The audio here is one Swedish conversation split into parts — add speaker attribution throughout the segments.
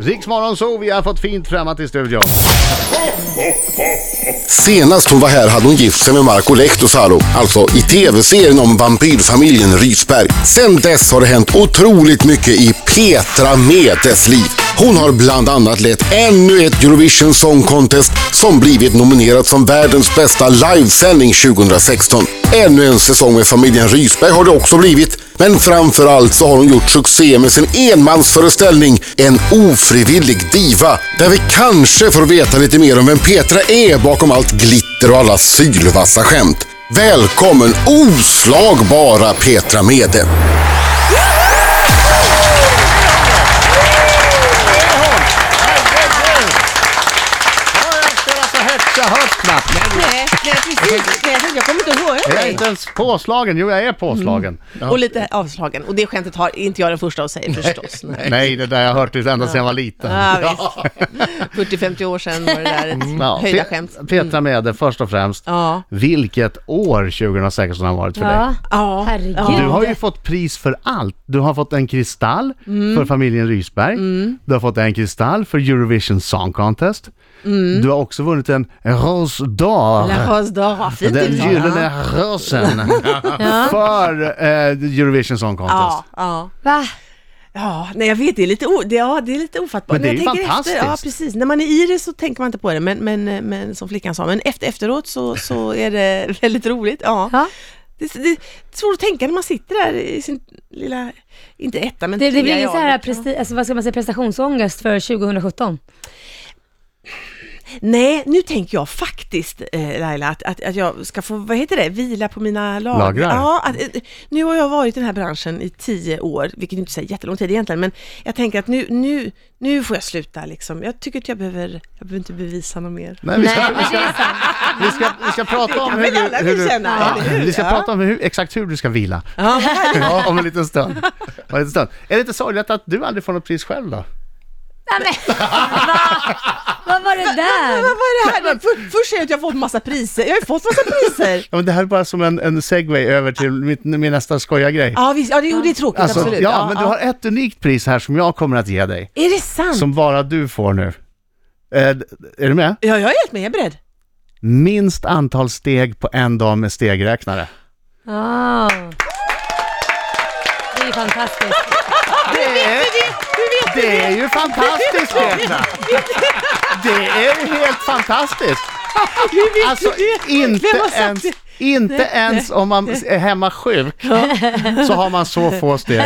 Speaker 1: Riksmorgon så vi har fått fint främmat i studion.
Speaker 2: Senast hon var här hade hon gift sig med Marco Lehtosalo, alltså i tv-serien om vampyrfamiljen Rysberg. Sen dess har det hänt otroligt mycket i Petra Medes liv. Hon har bland annat lett ännu ett Eurovision Song Contest som blivit nominerat som världens bästa livesändning 2016. Ännu en säsong med familjen Rysberg har det också blivit, men framförallt så har hon gjort succé med sin enmansföreställning En ofrivillig diva, där vi kanske får veta lite mer om vem Petra är bakom allt glitter och alla sylvassa skämt. Välkommen oslagbara Petra Mede!
Speaker 1: Har jag spelat så högt så hörs knappt.
Speaker 3: Nej, nej precis. Nej, jag kommer inte att höra
Speaker 1: Jag är
Speaker 3: dig.
Speaker 1: inte ens påslagen. Jo, jag är påslagen.
Speaker 3: Och lite avslagen. Och det skämtet har inte jag den första att säga förstås. Nej.
Speaker 1: Nej, det där jag har hört ända sedan jag var liten.
Speaker 3: Ja, visst. 40-50 år sedan var det där ett
Speaker 1: Ja,
Speaker 3: höjda
Speaker 1: Pe-
Speaker 3: skämt. Mm.
Speaker 1: Petra Mede, först och främst.
Speaker 3: Ja.
Speaker 1: Vilket år 2016 har varit för dig.
Speaker 4: Ja,
Speaker 3: Ja,
Speaker 4: herregud.
Speaker 3: ja.
Speaker 1: Du har ju fått pris för allt. Du har fått en kristall
Speaker 3: Mm.
Speaker 1: för familjen Rysberg. Du har fått en kristall för Eurovision Song Contest. Du har också vunnit en Rose d'Or.
Speaker 3: Mm. La Rose d'Or, fint
Speaker 1: Den
Speaker 3: uttal.
Speaker 1: gyllene rosen för eh, Eurovision Song Contest.
Speaker 3: Ja, ja.
Speaker 4: Va?
Speaker 3: Ja, nej jag vet, det är lite, o, det, ja, det är lite ofattbart.
Speaker 1: Men det
Speaker 3: När
Speaker 1: är
Speaker 3: jag
Speaker 1: ju
Speaker 3: tänker Efter, ja,
Speaker 1: fantastiskt.
Speaker 3: precis. När man är i det så tänker man inte på det, men, men, men som flickan sa, men efter, efteråt så, så är det väldigt roligt. Ja.
Speaker 4: Ja.
Speaker 3: Det, det, det är svårt att tänka när man sitter där i sin lilla, inte etta, men
Speaker 4: Det, det blir
Speaker 3: trea i
Speaker 4: ingen så här
Speaker 3: adet.
Speaker 4: presti- alltså, vad ska man säga, prestationsångest för 2017.
Speaker 3: Nej, nu tänker jag faktiskt eh, Laila att, att, att jag ska få, vad heter det, vila på mina lag-
Speaker 1: Lagrar.
Speaker 3: Ja, att, eh, nu har jag varit i den här branschen i tio år, vilket inte säger jättelång tid egentligen, men jag tänker att nu, nu, nu får jag sluta liksom. Jag tycker att jag behöver, jag behöver inte bevisa något mer.
Speaker 1: Nej, vi, ska, vi, ska, vi, ska, vi ska prata om
Speaker 3: kan
Speaker 1: hur
Speaker 3: väl
Speaker 1: du,
Speaker 3: alla
Speaker 1: hur du,
Speaker 3: känna,
Speaker 1: ja,
Speaker 3: eller hur?
Speaker 1: vi ska
Speaker 3: Ja.
Speaker 1: prata om hur, exakt hur du ska vila.
Speaker 3: Ja, vad härligt.
Speaker 1: Ja, om en liten stund. Om en liten stund. Är det inte sorgligt att du aldrig får något pris själv då?
Speaker 4: Nej men, va? Vad var det
Speaker 3: Vad
Speaker 4: där?
Speaker 3: var det här? För, först säger jag att jag har fått massa priser, jag har ju fått massa priser.
Speaker 1: Ja, men det här är bara som en, en segway över till mitt, min nästa skoja grej.
Speaker 3: Ja, visst, ja det, jo, det är tråkigt, absolut.
Speaker 1: Alltså, ja, men du har ett unikt pris här som jag kommer att ge dig.
Speaker 3: Är det sant?
Speaker 1: Som bara du får nu. Eh, d- är du med?
Speaker 3: Ja, jag är helt med, jag är beredd.
Speaker 1: Minst antal steg på en dag med stegräknare.
Speaker 4: Ja. Ah. Det är fantastiskt.
Speaker 1: Det är, det är ju fantastiskt Petra! Det är ju helt fantastiskt!
Speaker 3: Hur vet
Speaker 1: Alltså
Speaker 3: du det?
Speaker 1: inte
Speaker 3: Vem har sagt
Speaker 1: ens,
Speaker 3: det?
Speaker 1: inte ens om man är hemma sjuk så har man så få steg.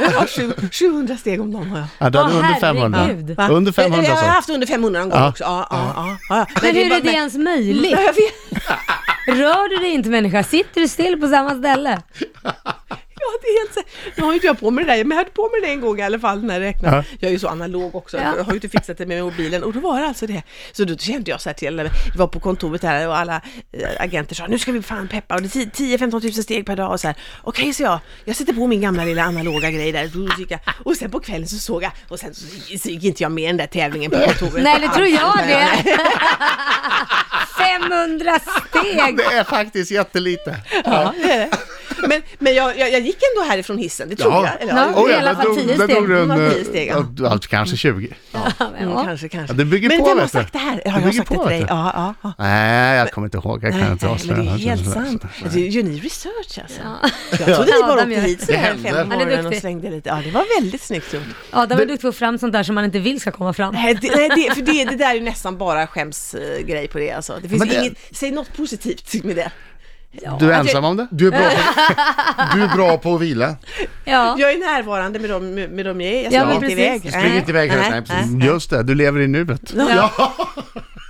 Speaker 3: Jag har sju- 700 steg om dagen har jag.
Speaker 1: Ja, då är det
Speaker 4: Åh,
Speaker 1: under 500.
Speaker 4: herregud.
Speaker 3: Va?
Speaker 1: Under 500
Speaker 3: Jag har
Speaker 1: så.
Speaker 3: haft under 500 någon gång
Speaker 1: Ja.
Speaker 3: också. Ja, ja, ja, ja.
Speaker 4: Men hur
Speaker 3: bara-
Speaker 4: är det ens
Speaker 3: men-
Speaker 4: möjligt?
Speaker 3: Ja, jag vet.
Speaker 4: Rör du dig inte människa? Sitter du still på samma ställe?
Speaker 3: Ja, det är helt så- Nu har ju inte jag på mig det där, men jag hade på mig det en gång i alla fall när jag räknade.
Speaker 1: Ja.
Speaker 3: Jag är ju så analog också,
Speaker 4: Ja.
Speaker 3: jag har ju inte fixat det med mobilen. Och då var det alltså det. Så då kände jag så här till, jag var på kontoret här och alla eh, agenter sa nu ska vi fan peppa och det är 10-15 tusen steg per dag och så här. Okej, så jag. Jag sätter på min gamla lilla analoga grej där. då gick jag. Och sen på kvällen så såg jag, och sen så så gick inte jag med i den där tävlingen på kontoret.
Speaker 4: Nej, det tror jag det. 500 steg!
Speaker 1: Det är faktiskt jättelite.
Speaker 3: Ja, det är det. Men, men jag, jag, jag gick ändå härifrån hissen, det tror
Speaker 1: Ja.
Speaker 3: jag. Eller,
Speaker 4: Ja,
Speaker 3: ja,
Speaker 4: i alla
Speaker 1: där
Speaker 4: fall
Speaker 1: tog-
Speaker 4: tio
Speaker 1: där
Speaker 4: steg.
Speaker 1: tog du en,
Speaker 3: Det var tio
Speaker 1: eh,
Speaker 3: steg, ja.
Speaker 1: ja, du- alltså, kanske 20.
Speaker 3: mm, Kanske, kanske.
Speaker 1: Ja, det bygger
Speaker 3: men
Speaker 1: på,
Speaker 3: vem
Speaker 1: vet
Speaker 3: har
Speaker 1: du.
Speaker 3: sagt det här? Har
Speaker 1: Det
Speaker 3: jag
Speaker 1: bygger
Speaker 3: sagt det
Speaker 1: på,
Speaker 3: till
Speaker 1: vet
Speaker 3: dig?
Speaker 1: du.
Speaker 3: Ja, ja, ja.
Speaker 1: Nej, jag kommer inte ihåg. Jag kan
Speaker 3: Nej,
Speaker 1: inte
Speaker 3: nej,
Speaker 1: avslöja.
Speaker 3: men det är
Speaker 1: något.
Speaker 3: helt sant. Det gör ni research alltså? Jag
Speaker 4: Ja.
Speaker 3: trodde ni bara
Speaker 4: Adam
Speaker 3: åkte
Speaker 4: gör-
Speaker 3: hit sådär
Speaker 1: hände.
Speaker 3: fem
Speaker 1: Han
Speaker 4: är
Speaker 3: morgonen och
Speaker 4: duktig.
Speaker 3: svängde lite. Ja, det var väldigt snyggt gjort.
Speaker 4: Adam är duktig på att få fram sånt där som man inte vill ska komma fram.
Speaker 3: Nej, det, nej, det, för det, det där är ju nästan bara skämsgrej på det alltså. Det finns
Speaker 1: Men det-
Speaker 3: inget, säg något positivt med det.
Speaker 1: Du är
Speaker 4: alltså,
Speaker 1: ensam om det?
Speaker 5: Du är bra på, du är bra på att vila.
Speaker 4: Ja.
Speaker 3: Jag är närvarande med dem, med dem jag är, jag
Speaker 4: Ja,
Speaker 3: springer
Speaker 4: men
Speaker 3: inte
Speaker 4: precis.
Speaker 3: iväg.
Speaker 4: Du
Speaker 5: springer inte iväg, nej, precis.
Speaker 1: Just det, du lever i nuet.
Speaker 4: Ja.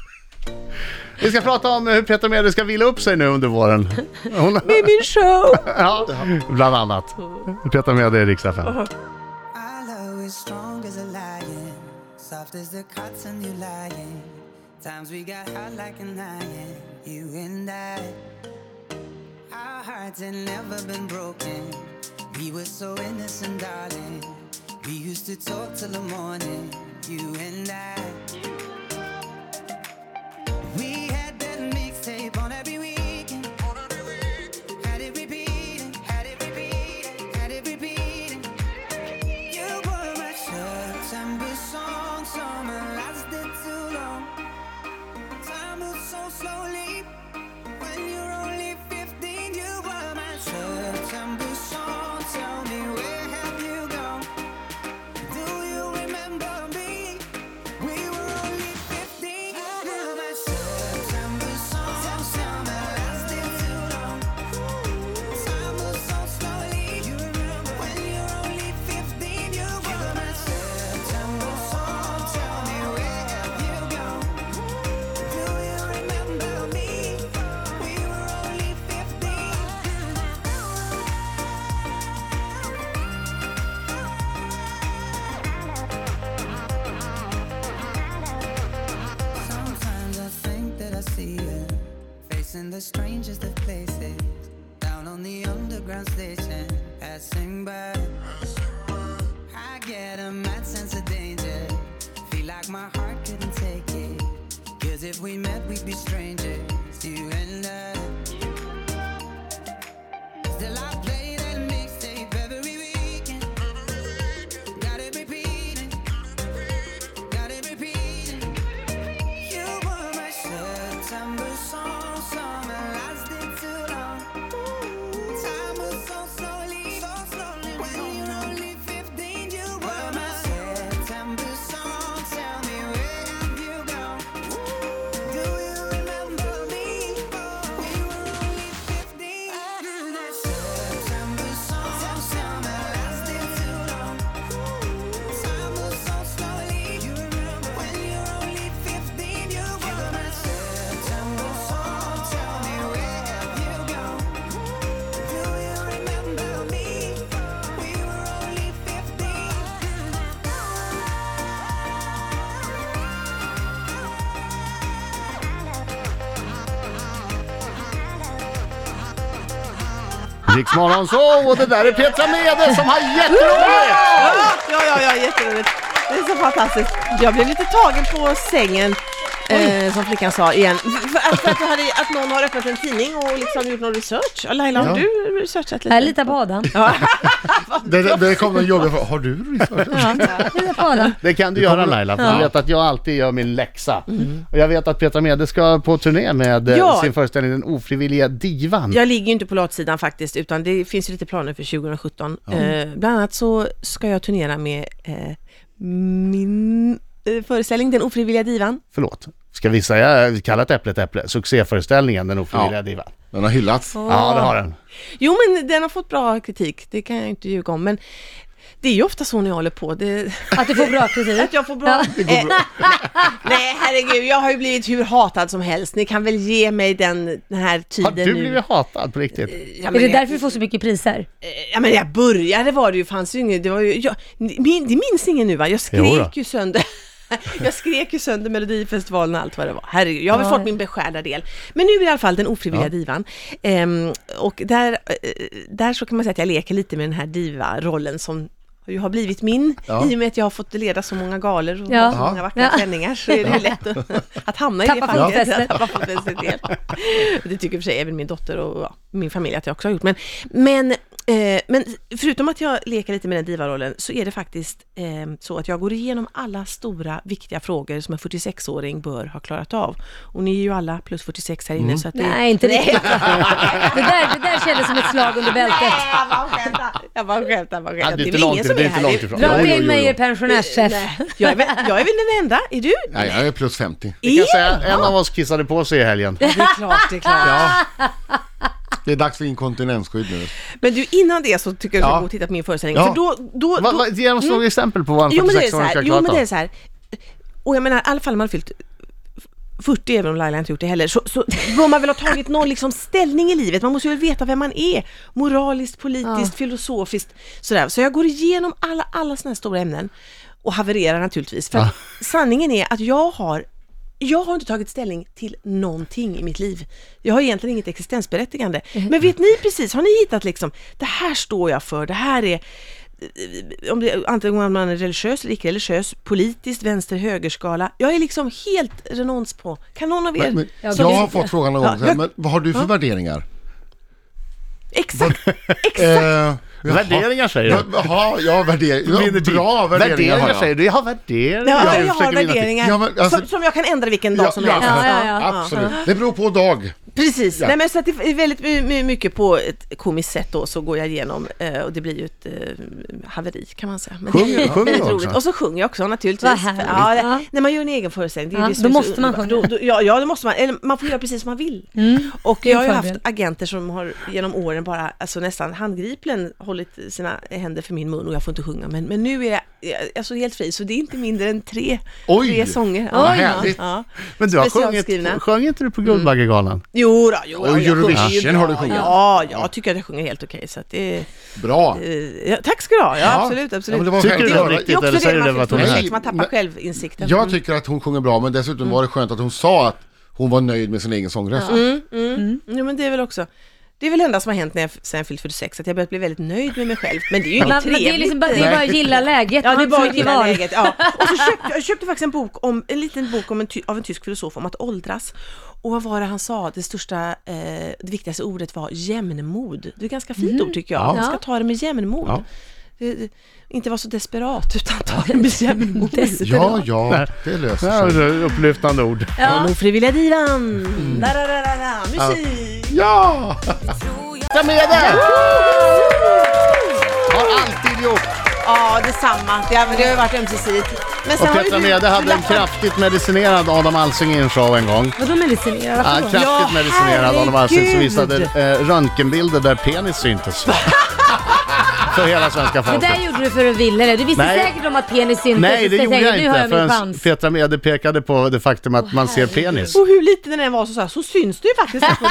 Speaker 1: Vi ska prata om hur Petra Mede ska vila upp sig nu under våren. Hon,
Speaker 3: Det är min show!
Speaker 1: ja, bland annat. Petra Mede i Riksdag 5.
Speaker 6: Our love is strong as a lion, soft as the cotton you lying. Times we got hot like an iron, you and I. Our hearts had never been broken. We were so innocent, darling. We used to talk till the morning, you and I. We had that mixtape on every weekend. Had it repeating, had it repeating, had it repeating. You were my September song. If we met, we'd be strangers, you and I. Still, I play that mixtape every weekend. Got it repeating. Got it repeating. You were my September song, summer lasted too long. Time was so slowly, so slowly. When you were only 15, you were my September song. Tell me where have you gone? Do you remember me? Oh, We were only 15. That September song, summer lasted too long. Time moves so slowly. You remember when you were only 15, you were my September song. Tell me where have you gone? Do you remember me? We were only
Speaker 1: Riks Morgonzoo och det där är Petra Mede som har jätteroligt!
Speaker 3: Ja, ja, ja, jätteroligt. Det är så fantastiskt. Jag blev lite tagen på sängen. Eh, som flickan sa igen. För att, för att, jag hade, att någon har öppnat en tidning och liksom gjort någon research. Ja, Laila, har
Speaker 5: Ja.
Speaker 3: du researchat lite?
Speaker 4: Jag litar på Adam.
Speaker 5: Det, det, det kom en jobbig fråga. Har du research?
Speaker 4: Jag litar på Adam.
Speaker 1: Det kan du göra Laila, för du vet att jag alltid gör min läxa.
Speaker 5: Mm.
Speaker 1: Och jag vet att Petra Mede ska på turné med eh,
Speaker 3: Ja.
Speaker 1: sin föreställning Den ofrivilliga divan.
Speaker 3: Jag ligger ju inte på latsidan faktiskt, utan det finns ju lite planer för 2017. Eh, bland annat så ska jag turnera med eh, min eh, föreställning Den ofrivilliga divan.
Speaker 1: Förlåt, ska vi säga kallat äpplet äpple? Succéföreställningen Den ofrivilliga
Speaker 5: Ja.
Speaker 1: divan.
Speaker 5: Den har hyllats.
Speaker 1: Ja, det har den.
Speaker 3: Jo, men den har fått bra kritik, det kan jag ju inte ljuga om, men det är ju ofta så när jag håller på. Det,
Speaker 4: Att du får bra kritik.
Speaker 3: Att jag får bra... Eh, nej, herregud, jag har ju blivit hur hatad som helst. Ni kan väl ge mig den, den här
Speaker 1: Har
Speaker 3: tiden
Speaker 1: du
Speaker 3: nu.
Speaker 1: blivit hatad på riktigt?
Speaker 3: Ja,
Speaker 4: Är
Speaker 3: men
Speaker 4: det
Speaker 3: jag,
Speaker 4: därför du får så mycket priser?
Speaker 3: Eh, ja, men när jag började var det ju, fanns ju inget, det var ju, jag, min, det minns ingen nu va? Jag skrek
Speaker 1: Jo då.
Speaker 3: ju sönder. Jag skrek ju sönder Melodifestivalen och allt vad det var. Herregud, jag har väl
Speaker 4: Ja.
Speaker 3: fått min beskärda del. Men nu är i alla fall den ofrivilliga divan. Ehm, och där, eh, där så kan man säga att jag leker lite med den här diva-rollen som ju har blivit min
Speaker 5: Ja.
Speaker 3: i och med att jag har fått leda så många galor och
Speaker 4: Ja.
Speaker 3: ha så många vackra
Speaker 4: Ja.
Speaker 3: klänningar så är det ju lätt att, att hamna i
Speaker 4: Tappa
Speaker 3: det facket.
Speaker 4: fotfästet.
Speaker 3: att tappa fotfästet igen. Det tycker i och för sig även min dotter och ja, min familj att jag också har gjort. Men, men, eh, men förutom att jag leker lite med den divarollen så är det faktiskt eh, så att jag går igenom alla stora viktiga frågor som en 46-åring bör ha klarat av. Och ni är ju alla plus 46 här inne
Speaker 1: Mm.
Speaker 3: så att det
Speaker 4: Nej, inte riktigt. Det där, det där kändes som ett slag under bältet.
Speaker 3: Jag bara skämtar, jag bara skämtar. jag bara
Speaker 1: Ja,
Speaker 3: skämtar.
Speaker 1: det är
Speaker 3: väl
Speaker 1: inte långt,
Speaker 3: ingen som
Speaker 1: det är inte
Speaker 3: här.
Speaker 1: långt ifrån.
Speaker 4: Dra
Speaker 1: Jo,
Speaker 4: inte
Speaker 1: jo,
Speaker 4: in
Speaker 1: jo,
Speaker 4: mig i
Speaker 1: jo.
Speaker 4: er pensionärschef.
Speaker 3: Jag är, väl, jag är väl den enda, är du?
Speaker 5: Nej, jag är plus 50.
Speaker 1: Vi kan säga att en av oss kissade på sig i helgen.
Speaker 3: Det är klart, det är klart.
Speaker 5: Ja. Det är dags för inkontinensskydd nu.
Speaker 3: Men du, innan det så tycker jag att du ska
Speaker 5: Ja.
Speaker 3: gå och titta på min föreställning.
Speaker 5: Ja.
Speaker 3: För då, då,
Speaker 1: Va,
Speaker 3: då,
Speaker 1: va, ge oss några exempel på vad en
Speaker 3: mm. jo, men det är så
Speaker 1: 46-åring ska
Speaker 3: här,
Speaker 1: ha
Speaker 3: jo,
Speaker 1: klarat
Speaker 3: men det är
Speaker 1: av.
Speaker 3: så här. Och jag menar, i alla fall om man har fyllt 40, även om Laila inte gjort det heller, så, så bör man väl ha tagit någon liksom ställning i livet. Man måste ju veta vem man är, moraliskt, politiskt, filosofiskt, sådär. Så jag går igenom alla, alla sådana här stora ämnen och havererar naturligtvis. För att sanningen är att jag har jag har inte tagit ställning till någonting i mitt liv. Jag har egentligen inget existensberättigande. Men vet ni precis, har ni hittat liksom, det här står jag för, det här är, om det, antingen om man är religiös eller icke-religiös, politiskt, vänster, högerskala. Jag är liksom helt renons på, kan någon av er?
Speaker 5: Men, men,
Speaker 4: Jag
Speaker 5: jag har
Speaker 4: vet.
Speaker 5: fått frågan någon
Speaker 3: Ja,
Speaker 5: gång så här,
Speaker 3: jag-
Speaker 5: men vad har du för värderingar?
Speaker 3: exakt!
Speaker 5: Eh,
Speaker 1: Värderingar säger
Speaker 5: Ja,
Speaker 1: du?
Speaker 5: Jaha, ja värderingar. Ja, bra värderingar har
Speaker 1: Värderingar
Speaker 5: jag.
Speaker 1: säger du? Jag har värderingar.
Speaker 3: Ja, jag har
Speaker 1: försöker vinna tid.
Speaker 3: värderingar
Speaker 5: Ja, men alltså-
Speaker 3: som, som jag kan ändra vilken dag
Speaker 5: Ja,
Speaker 3: som
Speaker 5: ja,
Speaker 3: helst.
Speaker 4: Ja, ja, ja.
Speaker 5: Absolut. Det beror på dag.
Speaker 3: Precis,
Speaker 5: Ja.
Speaker 3: Nej, men så att det är väldigt my- my- mycket på ett komiskt sätt då så går jag igenom eh, och det blir ju ett eh, haveri kan man säga. Men
Speaker 1: Sjunger-
Speaker 3: det är ju
Speaker 1: sjunger
Speaker 3: väldigt
Speaker 1: du
Speaker 3: roligt.
Speaker 1: också?
Speaker 3: Och så sjunger jag också naturligtvis.
Speaker 4: Vad härligt.
Speaker 3: ja, det-
Speaker 4: Ja.
Speaker 3: När man gör en egen föreställning. Det är
Speaker 4: Ja,
Speaker 3: det som
Speaker 4: då
Speaker 3: är så
Speaker 4: måste man
Speaker 3: underbart.
Speaker 4: sjunga. Mm.
Speaker 3: Då, då, ja, ja, då måste man. Eller man får göra precis som man vill. Och
Speaker 4: är
Speaker 3: jag har
Speaker 4: en
Speaker 3: ju haft
Speaker 4: fördel.
Speaker 3: agenter som har genom åren bara, alltså nästan handgripligen hållit sina händer för min mun och jag får inte sjunga. Men, men nu är jag jag- alltså, helt fri, så det är inte mindre än tre,
Speaker 5: Oj.
Speaker 3: tre sånger.
Speaker 5: Vad härligt.
Speaker 3: ja.
Speaker 1: Men du har
Speaker 3: Specialskrivna.
Speaker 1: sjungit, sjöng inte du på
Speaker 5: Mm.
Speaker 1: Guldbaggegalan?
Speaker 3: Jo, då, jo,
Speaker 5: Och
Speaker 3: jag sjunger ju
Speaker 5: Eurovision
Speaker 3: bra.
Speaker 5: har du sjungit.
Speaker 3: Ja, jag tycker att jag sjunger helt okej. Så att det,
Speaker 5: Bra.
Speaker 3: eh, ja, tack ska du ha, ja,
Speaker 5: Ja.
Speaker 3: absolut,
Speaker 5: Ja, men
Speaker 3: absolut.
Speaker 5: det var
Speaker 1: Tycker du det var
Speaker 5: självklart.
Speaker 1: riktigt eller säger du det för att hon
Speaker 5: är
Speaker 3: man,
Speaker 5: här?
Speaker 3: man tappar
Speaker 5: Men-
Speaker 3: självinsikten.
Speaker 5: Jag tycker att hon sjunger bra, men dessutom var det skönt att hon sa att hon var nöjd med sin egen sångröst.
Speaker 3: Mm, jo, men det är väl också Det är väl det enda som har hänt när jag, f- sen jag fyllt 46, att jag börjat bli väldigt nöjd med mig själv. Men det är ju inget
Speaker 4: Man, det, är
Speaker 3: trevligt.
Speaker 4: liksom bara, det är bara att gilla läget.
Speaker 3: Ja,
Speaker 4: man
Speaker 3: det är
Speaker 4: har
Speaker 3: bara
Speaker 4: inte
Speaker 3: att
Speaker 4: så mycket
Speaker 3: gilla
Speaker 4: val.
Speaker 3: läget. Ja. Och så köpte jag köpte faktiskt en bok om, en liten bok om en ty, av en tysk filosof om att åldras. Och vad var det han sa? Det största, eh, det viktigaste ordet var jämnmod. Det är ett ganska fint ord tycker jag. Man ska
Speaker 4: Ja.
Speaker 3: ta det med jämnmod.
Speaker 1: Ja.
Speaker 3: Det- det- Inte vara så desperat, utan ta det med jämnmod.
Speaker 5: Ja, ja, det
Speaker 1: Det
Speaker 5: löser sig.
Speaker 1: här är upplyftande ord.
Speaker 3: Ja, men frivilliga divan.
Speaker 1: Mm.
Speaker 3: Da, da, da, da, da. Musik.
Speaker 5: Ja!
Speaker 1: Ta med det! Har alltid gjort.
Speaker 3: Ja, detsamma. Det har, det har ju varit ömsesidigt. Men sen
Speaker 1: Och
Speaker 3: har ju
Speaker 1: Petra
Speaker 3: du-
Speaker 1: Mede hade en
Speaker 3: lappat-
Speaker 1: kraftigt medicinerad Adam Alsing i en show en gång.
Speaker 4: Vadå medicinerar?
Speaker 1: Ja,
Speaker 4: Varför då?
Speaker 1: kraftigt medicinerad Adam Alsing som visade eh, röntgenbilder där penis syntes. För hela svenska
Speaker 4: Det
Speaker 1: folket.
Speaker 4: där gjorde du för att villa det. Du visste
Speaker 1: Nej.
Speaker 4: säkert om att penis syntes.
Speaker 1: Nej,
Speaker 4: Du
Speaker 1: det
Speaker 4: ska
Speaker 1: gjorde
Speaker 4: säga,
Speaker 1: jag
Speaker 4: Nu har
Speaker 1: inte
Speaker 4: jag min chans.
Speaker 1: förrän Petra Mede pekade på det faktum att man ser penis.
Speaker 3: Och hur liten den än var så, så, här, så syns det ju faktiskt på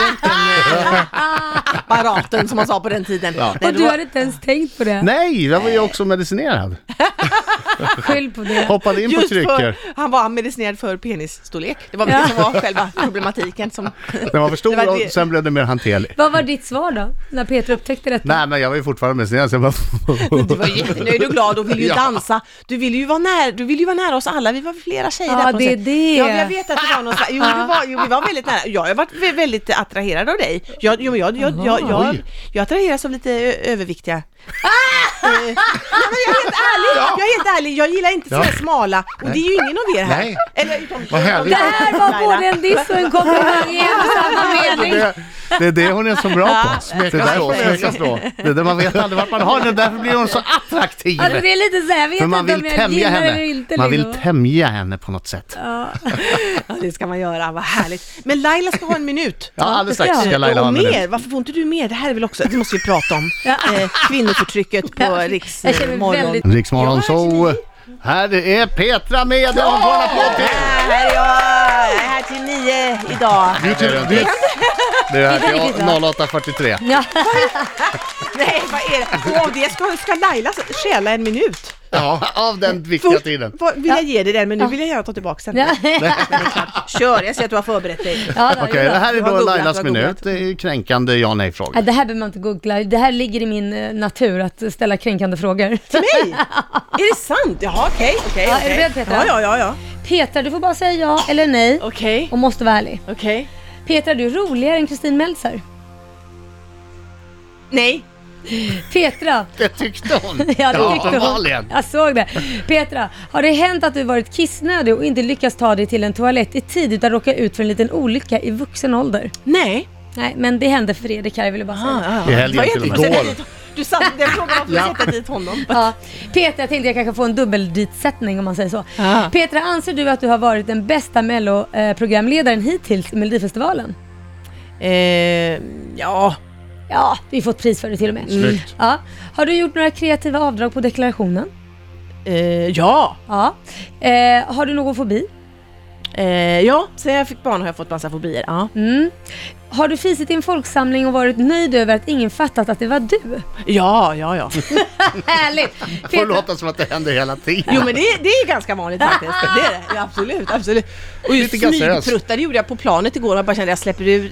Speaker 3: röntgenapparaten som man sa på den tiden. Nej,
Speaker 4: Ah, Och
Speaker 3: det
Speaker 4: du
Speaker 3: var-
Speaker 4: hade inte ens tänkt på det.
Speaker 1: Nej, jag var ju också medicinerad.
Speaker 4: Skyll på det.
Speaker 1: Hoppade in på
Speaker 3: Just för,
Speaker 1: kryckor.
Speaker 3: han var medicinerad för penisstorlek. Det var väl det som var själva problematiken. Som,
Speaker 1: Den var för
Speaker 3: Det var
Speaker 1: stor och
Speaker 3: det-
Speaker 1: sen blev den mer hanterlig.
Speaker 4: Vad var ditt svar då? När Peter upptäckte detta?
Speaker 1: Nej, men jag var ju fortfarande medicinerad. Så jag bara...
Speaker 3: Du var jättenöjd och glad och ville ju dansa. Du ville ju vara nära, du ville ju vara nära oss alla. Vi var flera tjejer
Speaker 4: Ja,
Speaker 3: där på
Speaker 4: det är
Speaker 3: scen.
Speaker 4: det.
Speaker 3: Ja, men jag vet att det var någon slags, jo, det var, jo, vi var väldigt nära. Jag har varit vä- väldigt attraherad av dig. Jag, jo, men jag, jag, jag, jag, jag, attraheras av lite ö- överviktiga.
Speaker 4: Ah!
Speaker 3: Eh, nej, men jag är helt ärlig, jag är helt ärlig. Jag gillar inte sådana smala och det är ju ingen av er här.
Speaker 5: Nej.
Speaker 3: Eller, utom,
Speaker 5: Vad härligt.
Speaker 4: Det här var både en diss och en komplimang i en och samma mening.
Speaker 1: Det, det är det hon är så bra på. Det är
Speaker 5: slå,
Speaker 1: därför-
Speaker 5: smeka slå.
Speaker 1: Det är det man vet aldrig vart man har henne, därför blir hon så attraktiv.
Speaker 4: Alltså det är lite såhär, jag vet
Speaker 1: För man
Speaker 4: inte om
Speaker 1: vill
Speaker 4: jag
Speaker 1: tämja
Speaker 4: gillar eller
Speaker 1: henne.
Speaker 4: inte.
Speaker 1: Man vill
Speaker 4: liksom.
Speaker 1: tämja henne på något sätt.
Speaker 3: Ja, det ska man göra, vad härligt. Men Laila ska ha en minut.
Speaker 1: Ja, alldeles strax
Speaker 4: Ja.
Speaker 1: ska Laila ha
Speaker 3: och
Speaker 1: en
Speaker 3: mer,
Speaker 1: minut.
Speaker 3: varför får inte du mer? Det här är väl också, det måste vi prata om.
Speaker 4: Ja.
Speaker 3: Eh, kvinnoförtrycket på Riks
Speaker 4: Jag känner mig
Speaker 3: morgon.
Speaker 4: väldigt-
Speaker 1: Riksmorgon så. Här är Petra med och hon får en applåd
Speaker 3: Ja,
Speaker 1: till.
Speaker 3: här är jag, jag är här till nio idag.
Speaker 1: Det är det inte. Det är
Speaker 4: Det är
Speaker 1: här
Speaker 4: riktigt
Speaker 1: till
Speaker 4: bra.
Speaker 1: 08.43.
Speaker 4: Ja.
Speaker 3: Nej, vad är det? Åh, det ska, ska Laila stjäla en minut?
Speaker 1: Ja, av den viktiga
Speaker 3: Först
Speaker 1: tiden.
Speaker 3: vad- vill jag ge dig den, men nu vill jag gärna ta tillbaka den.
Speaker 4: Ja.
Speaker 3: Kör, jag ser att du har förberett dig.
Speaker 4: Ja, då,
Speaker 1: Okej,
Speaker 4: jo då.
Speaker 1: det här är
Speaker 3: Du har
Speaker 1: då
Speaker 3: googlat,
Speaker 1: Lailas
Speaker 3: du har
Speaker 1: minut. Det är kränkande ja
Speaker 4: Ja,
Speaker 1: nej-fråga.
Speaker 4: det här behöver man inte googla. Det här ligger i min eh, natur att ställa kränkande frågor.
Speaker 3: Till mig? Är det sant? Jaha, okej. okej,
Speaker 4: Ja, är
Speaker 3: okej.
Speaker 4: du beredd, Petra?
Speaker 3: Ja, ja, ja. ja.
Speaker 4: Petra, du får bara säga ja eller nej
Speaker 3: Okej,
Speaker 4: och måste vara ärlig.
Speaker 3: okej.
Speaker 4: Petra, du är roligare än Kristin Meltzer.
Speaker 3: Nej.
Speaker 4: Petra,
Speaker 1: Det tyckte hon.
Speaker 4: ja det tyckte
Speaker 1: uppenbarligen.
Speaker 4: hon. Jag såg det. Petra, har det hänt att du varit kissnödig och inte lyckats ta dig till en toalett i tid utan råkat ut för en liten olycka i vuxen ålder?
Speaker 3: Nej.
Speaker 4: Nej, men det hände Fredrik här, jag ville bara säga.
Speaker 3: Ah, ah.
Speaker 1: I helgen
Speaker 3: Det var
Speaker 1: till och med.
Speaker 3: jättebra. Sätta dit- Du satte den frågan om att sätta dit honom.
Speaker 4: Ja. Petra, jag tänkte jag kanske får en dubbelditsättning om man säger så.
Speaker 3: Ah.
Speaker 4: Petra, anser du att du har varit den bästa melloprogramledaren hittills i Melodifestivalen?
Speaker 3: Eh, ja,
Speaker 4: Ja, vi har fått pris för det till och med. Mm.
Speaker 5: Snyggt.
Speaker 4: Ja. Har du gjort några kreativa avdrag på deklarationen?
Speaker 3: eh, ja,
Speaker 4: Ja. Eh, har du någon fobi?
Speaker 3: eh, ja. Sen jag fick barn har jag fått massa fobier. Ja,
Speaker 4: Mm. Har du fisit i en folksamling och varit nöjd över att ingen fattat att det var du?
Speaker 3: ja, ja. ja.
Speaker 4: Härligt!
Speaker 1: Får
Speaker 4: Petra,
Speaker 1: låta som att det händer hela tiden.
Speaker 3: Jo men det, det är ganska vanligt faktiskt. Det är det. Ja, absolut, absolut. Och just
Speaker 1: Lite gasös.
Speaker 3: smygpruttar det gjorde jag på planet igår. Jag bara kände jag släpper ur. i-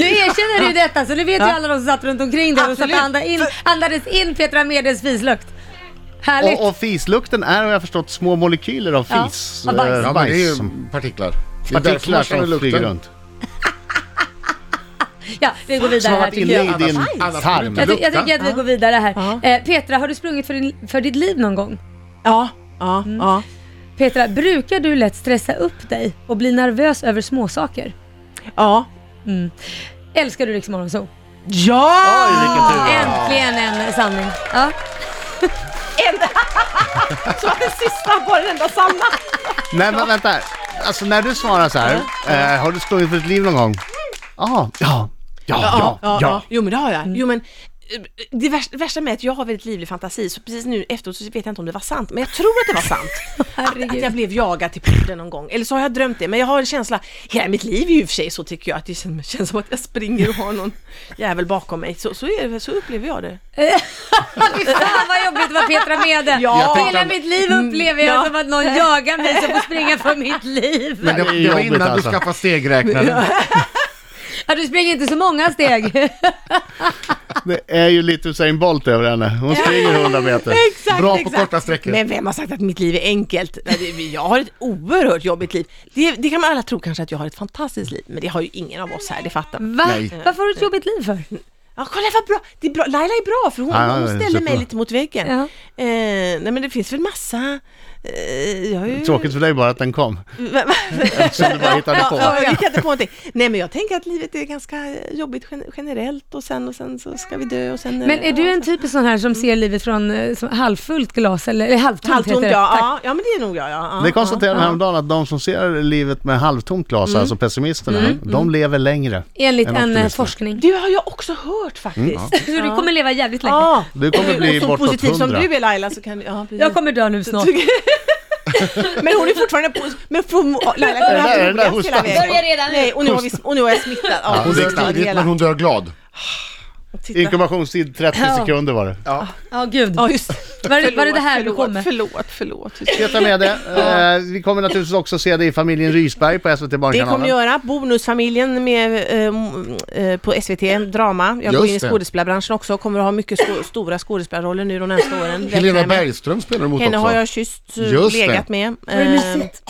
Speaker 4: nu
Speaker 3: i-
Speaker 4: erkänner du detta så nu vet ju alla de som satt runt omkring dig och satt
Speaker 3: Absolut.
Speaker 4: och andades in, andades in Petra Medes fislukt. Härligt!
Speaker 1: Och, och fislukten är, har jag förstått, små molekyler av
Speaker 4: Ja,
Speaker 1: fis.
Speaker 4: av bajs.
Speaker 1: eh,
Speaker 5: Ja, men det är ju partiklar. Det är därför
Speaker 1: Partiklar
Speaker 5: man känner
Speaker 1: som flyger
Speaker 5: lukten.
Speaker 1: runt.
Speaker 4: Ja, vi går
Speaker 1: Som
Speaker 4: vidare
Speaker 1: har
Speaker 4: här
Speaker 1: varit
Speaker 4: tycker jag.
Speaker 1: inne i din
Speaker 5: Annars-
Speaker 1: tarm.
Speaker 4: Jag, ty- jag tycker att vi går vidare här.
Speaker 3: Ja.
Speaker 4: Eh, Petra, har du sprungit för, din, för ditt liv någon gång?
Speaker 3: Ja, ja, ja.
Speaker 4: Petra, brukar du lätt stressa upp dig och bli nervös över småsaker?
Speaker 3: Ja.
Speaker 4: Älskar du Rix Morgonzoo?
Speaker 3: Ja!
Speaker 1: Oj, vilken
Speaker 3: Ah.
Speaker 1: tur.
Speaker 4: Äntligen en sanning. Ja.
Speaker 3: Så att den sista var den enda sanna.
Speaker 1: Nej men vänta, alltså när du svarar så här, eh, har du sprungit för ditt liv någon gång? Ja, ja, ja, ja, ja.
Speaker 3: Jo men det har
Speaker 5: Mm.
Speaker 3: jag. Jo men eh, det värsta, värsta med att jag har väldigt livlig fantasi så precis nu efteråt så vet jag inte om det var sant men jag tror att det var sant.
Speaker 4: Herregud.
Speaker 3: att jag blev jagad till porten någon gång. Eller så har jag drömt det men jag har en känsla, hela mitt liv är ju i och för sig så tycker jag att det känns, känns som att jag springer och har någon jävel bakom mig. Så, så, är det, så upplever jag det.
Speaker 4: Fy fan Ah, vad jobbigt det var Petra Mede.
Speaker 3: Ja.
Speaker 4: Hela mitt liv upplever jag
Speaker 3: Mm.
Speaker 4: som att någon jagar mig som får springa för mitt liv.
Speaker 5: Men det,
Speaker 1: Det är
Speaker 5: det var
Speaker 1: jobbigt
Speaker 5: innan
Speaker 1: alltså.
Speaker 5: du skaffade stegräknaren.
Speaker 4: Ja, du springer inte så många steg.
Speaker 1: Det är ju lite Usain Bolt över henne. Hon springer 100 meter.
Speaker 3: Exakt,
Speaker 5: Bra på
Speaker 3: exakt.
Speaker 5: korta sträckor.
Speaker 3: Men vem har sagt att mitt liv är enkelt? Nej, det- Jag har ett oerhört jobbigt liv. Det, det kan man alla tro kanske att jag har ett fantastiskt liv, men det har ju ingen av oss här, det fattar man.
Speaker 4: Va?
Speaker 5: Nej.
Speaker 4: Varför har du ett jobbigt liv för?
Speaker 3: Ja, kolla vad bra. Det är bra. Laila är bra, för hon,
Speaker 1: Ja, ja,
Speaker 3: hon
Speaker 1: ja,
Speaker 3: ställer
Speaker 1: superbra.
Speaker 3: mig lite mot väggen.
Speaker 4: Ja.
Speaker 3: Eh, nej, men det finns väl massa... Eh, jag har ju...
Speaker 1: Tråkigt för dig bara att den kom.
Speaker 3: Va- va-
Speaker 1: Som du bara hittade på.
Speaker 3: Ja, jag gick inte på någonting. Nej, men jag tänker att livet är ganska jobbigt gen- generellt och sen, och sen så ska vi dö och sen...
Speaker 4: Men är du en typisk sån här som ser livet från eh, som halvfullt glas, eller, eller halvtomt
Speaker 3: Halvtomt,
Speaker 4: heter
Speaker 3: ja,
Speaker 4: det. Tack.
Speaker 3: ja. Ja, men det är nog jag. Ja, ja,
Speaker 1: Det
Speaker 3: ja. Mm.
Speaker 1: konstaterade jag häromdagen att de som ser livet med halvtomt glas, alltså pessimisterna, de lever längre.
Speaker 4: Enligt
Speaker 1: än
Speaker 4: en eh,
Speaker 1: optimisterna.
Speaker 4: forskning.
Speaker 3: Det har jag också hört faktiskt.
Speaker 4: Så du kommer leva jävligt länge.
Speaker 3: Ja.
Speaker 1: Du Mm, kommer bli
Speaker 3: Och så
Speaker 1: bortåt
Speaker 3: positiv som
Speaker 1: 100.
Speaker 3: du är Laila så kan ja, precis.
Speaker 4: Jag kommer dö nu snart.
Speaker 3: Men hon är fortfarande på, men från, Laila
Speaker 1: Är det där- är det
Speaker 3: kommer
Speaker 1: där
Speaker 3: ha hela
Speaker 1: hostan?
Speaker 3: vägen.
Speaker 4: Börja redan nu.
Speaker 3: Nej, och nu, har vi, och nu är jag smittad. Ja,
Speaker 5: Hon dör
Speaker 3: smittad
Speaker 5: tidigt
Speaker 3: hela.
Speaker 5: men hon dör glad.
Speaker 3: Titta.
Speaker 1: Inkubationstid 30
Speaker 4: Ja.
Speaker 1: sekunder var det.
Speaker 4: Ja, gud.
Speaker 3: Ja, just
Speaker 4: Var det- var det det här du
Speaker 3: förlåt,
Speaker 4: kommer?
Speaker 3: Förlåt, förlåt.
Speaker 1: Peta med det. Eh, vi kommer naturligtvis också se det i familjen Rysberg på SVT
Speaker 3: Det kommer jag
Speaker 1: Barnkanalen.
Speaker 3: göra. Bonusfamiljen med, ehm, eh, på SVT, drama. Jag går
Speaker 5: Just
Speaker 3: in i
Speaker 5: det.
Speaker 3: skådespelarbranschen också. Kommer att ha mycket sko- stora skådespelarroller nu de nästa åren.
Speaker 5: Helena Bergström spelar emot
Speaker 3: Henne
Speaker 5: också.
Speaker 3: har jag kysst, eh,
Speaker 5: Just det.
Speaker 3: legat med.
Speaker 4: Vad
Speaker 3: Ehm,
Speaker 4: mysigt.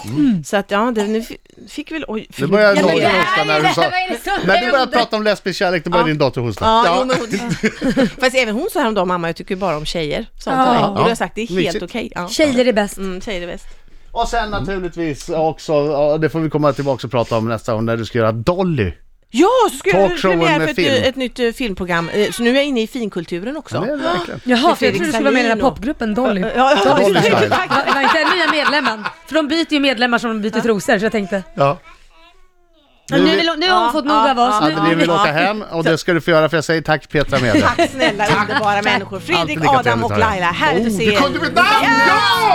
Speaker 3: Så att ja, det, nu fi- fick väl... Oj,
Speaker 1: Det börjar
Speaker 3: Ja, men
Speaker 1: dagen
Speaker 3: det-
Speaker 1: hosta när du sa...
Speaker 4: Vad är det som
Speaker 1: När du började
Speaker 4: händer?
Speaker 1: prata om lesbisk kärlek, då började din dotter hosta.
Speaker 3: Ja, Jo, men hon, fast även hon sa häromdagen, mamma jag tycker bara om tjejer. Sa hon
Speaker 4: Ja.
Speaker 3: till mig. Och då har
Speaker 5: Ja.
Speaker 3: jag sagt, det är helt
Speaker 1: Mysigt.
Speaker 3: okej. Ja.
Speaker 4: Tjejer är bäst.
Speaker 3: Mm, tjejer är bäst.
Speaker 1: Och sen naturligtvis också, ja, det får vi komma tillbaka och prata om nästa gång när du ska göra Dolly.
Speaker 3: Ja, så ska jag
Speaker 1: Talkshowen
Speaker 3: premiär för
Speaker 1: med
Speaker 3: ett,
Speaker 1: film.
Speaker 3: ett nytt eh, filmprogram. Eh, Så nu är jag inne i finkulturen också.
Speaker 1: Ja, det är det verkligen.
Speaker 4: Jaha, för jag
Speaker 3: Fredrik
Speaker 4: trodde du skulle vara med i den här
Speaker 3: Sahlin och-
Speaker 4: popgruppen Dolly. Va-
Speaker 3: Ja, ja,
Speaker 1: Dolly
Speaker 3: exakt.
Speaker 1: Style.
Speaker 4: Var inte den nya medlemmen? För de byter ju medlemmar som de byter trosor, så jag tänkte.
Speaker 5: Ja.
Speaker 4: Ja, nu, vill, hon- nu har hon
Speaker 3: Ja,
Speaker 4: fått
Speaker 3: ja,
Speaker 4: nog av oss.
Speaker 3: ja,
Speaker 4: Nu,
Speaker 1: Anneli vill
Speaker 3: Ja.
Speaker 1: åka hem och det ska du få göra för jag säger tack Petra med dig.
Speaker 3: Tack snälla underbara människor. Fredrik,
Speaker 1: lika
Speaker 3: Adam
Speaker 1: trevligt
Speaker 3: och
Speaker 1: att höra.
Speaker 3: Laila, härligt att se
Speaker 5: Du kunde
Speaker 3: er.
Speaker 5: mitt namn! Ja!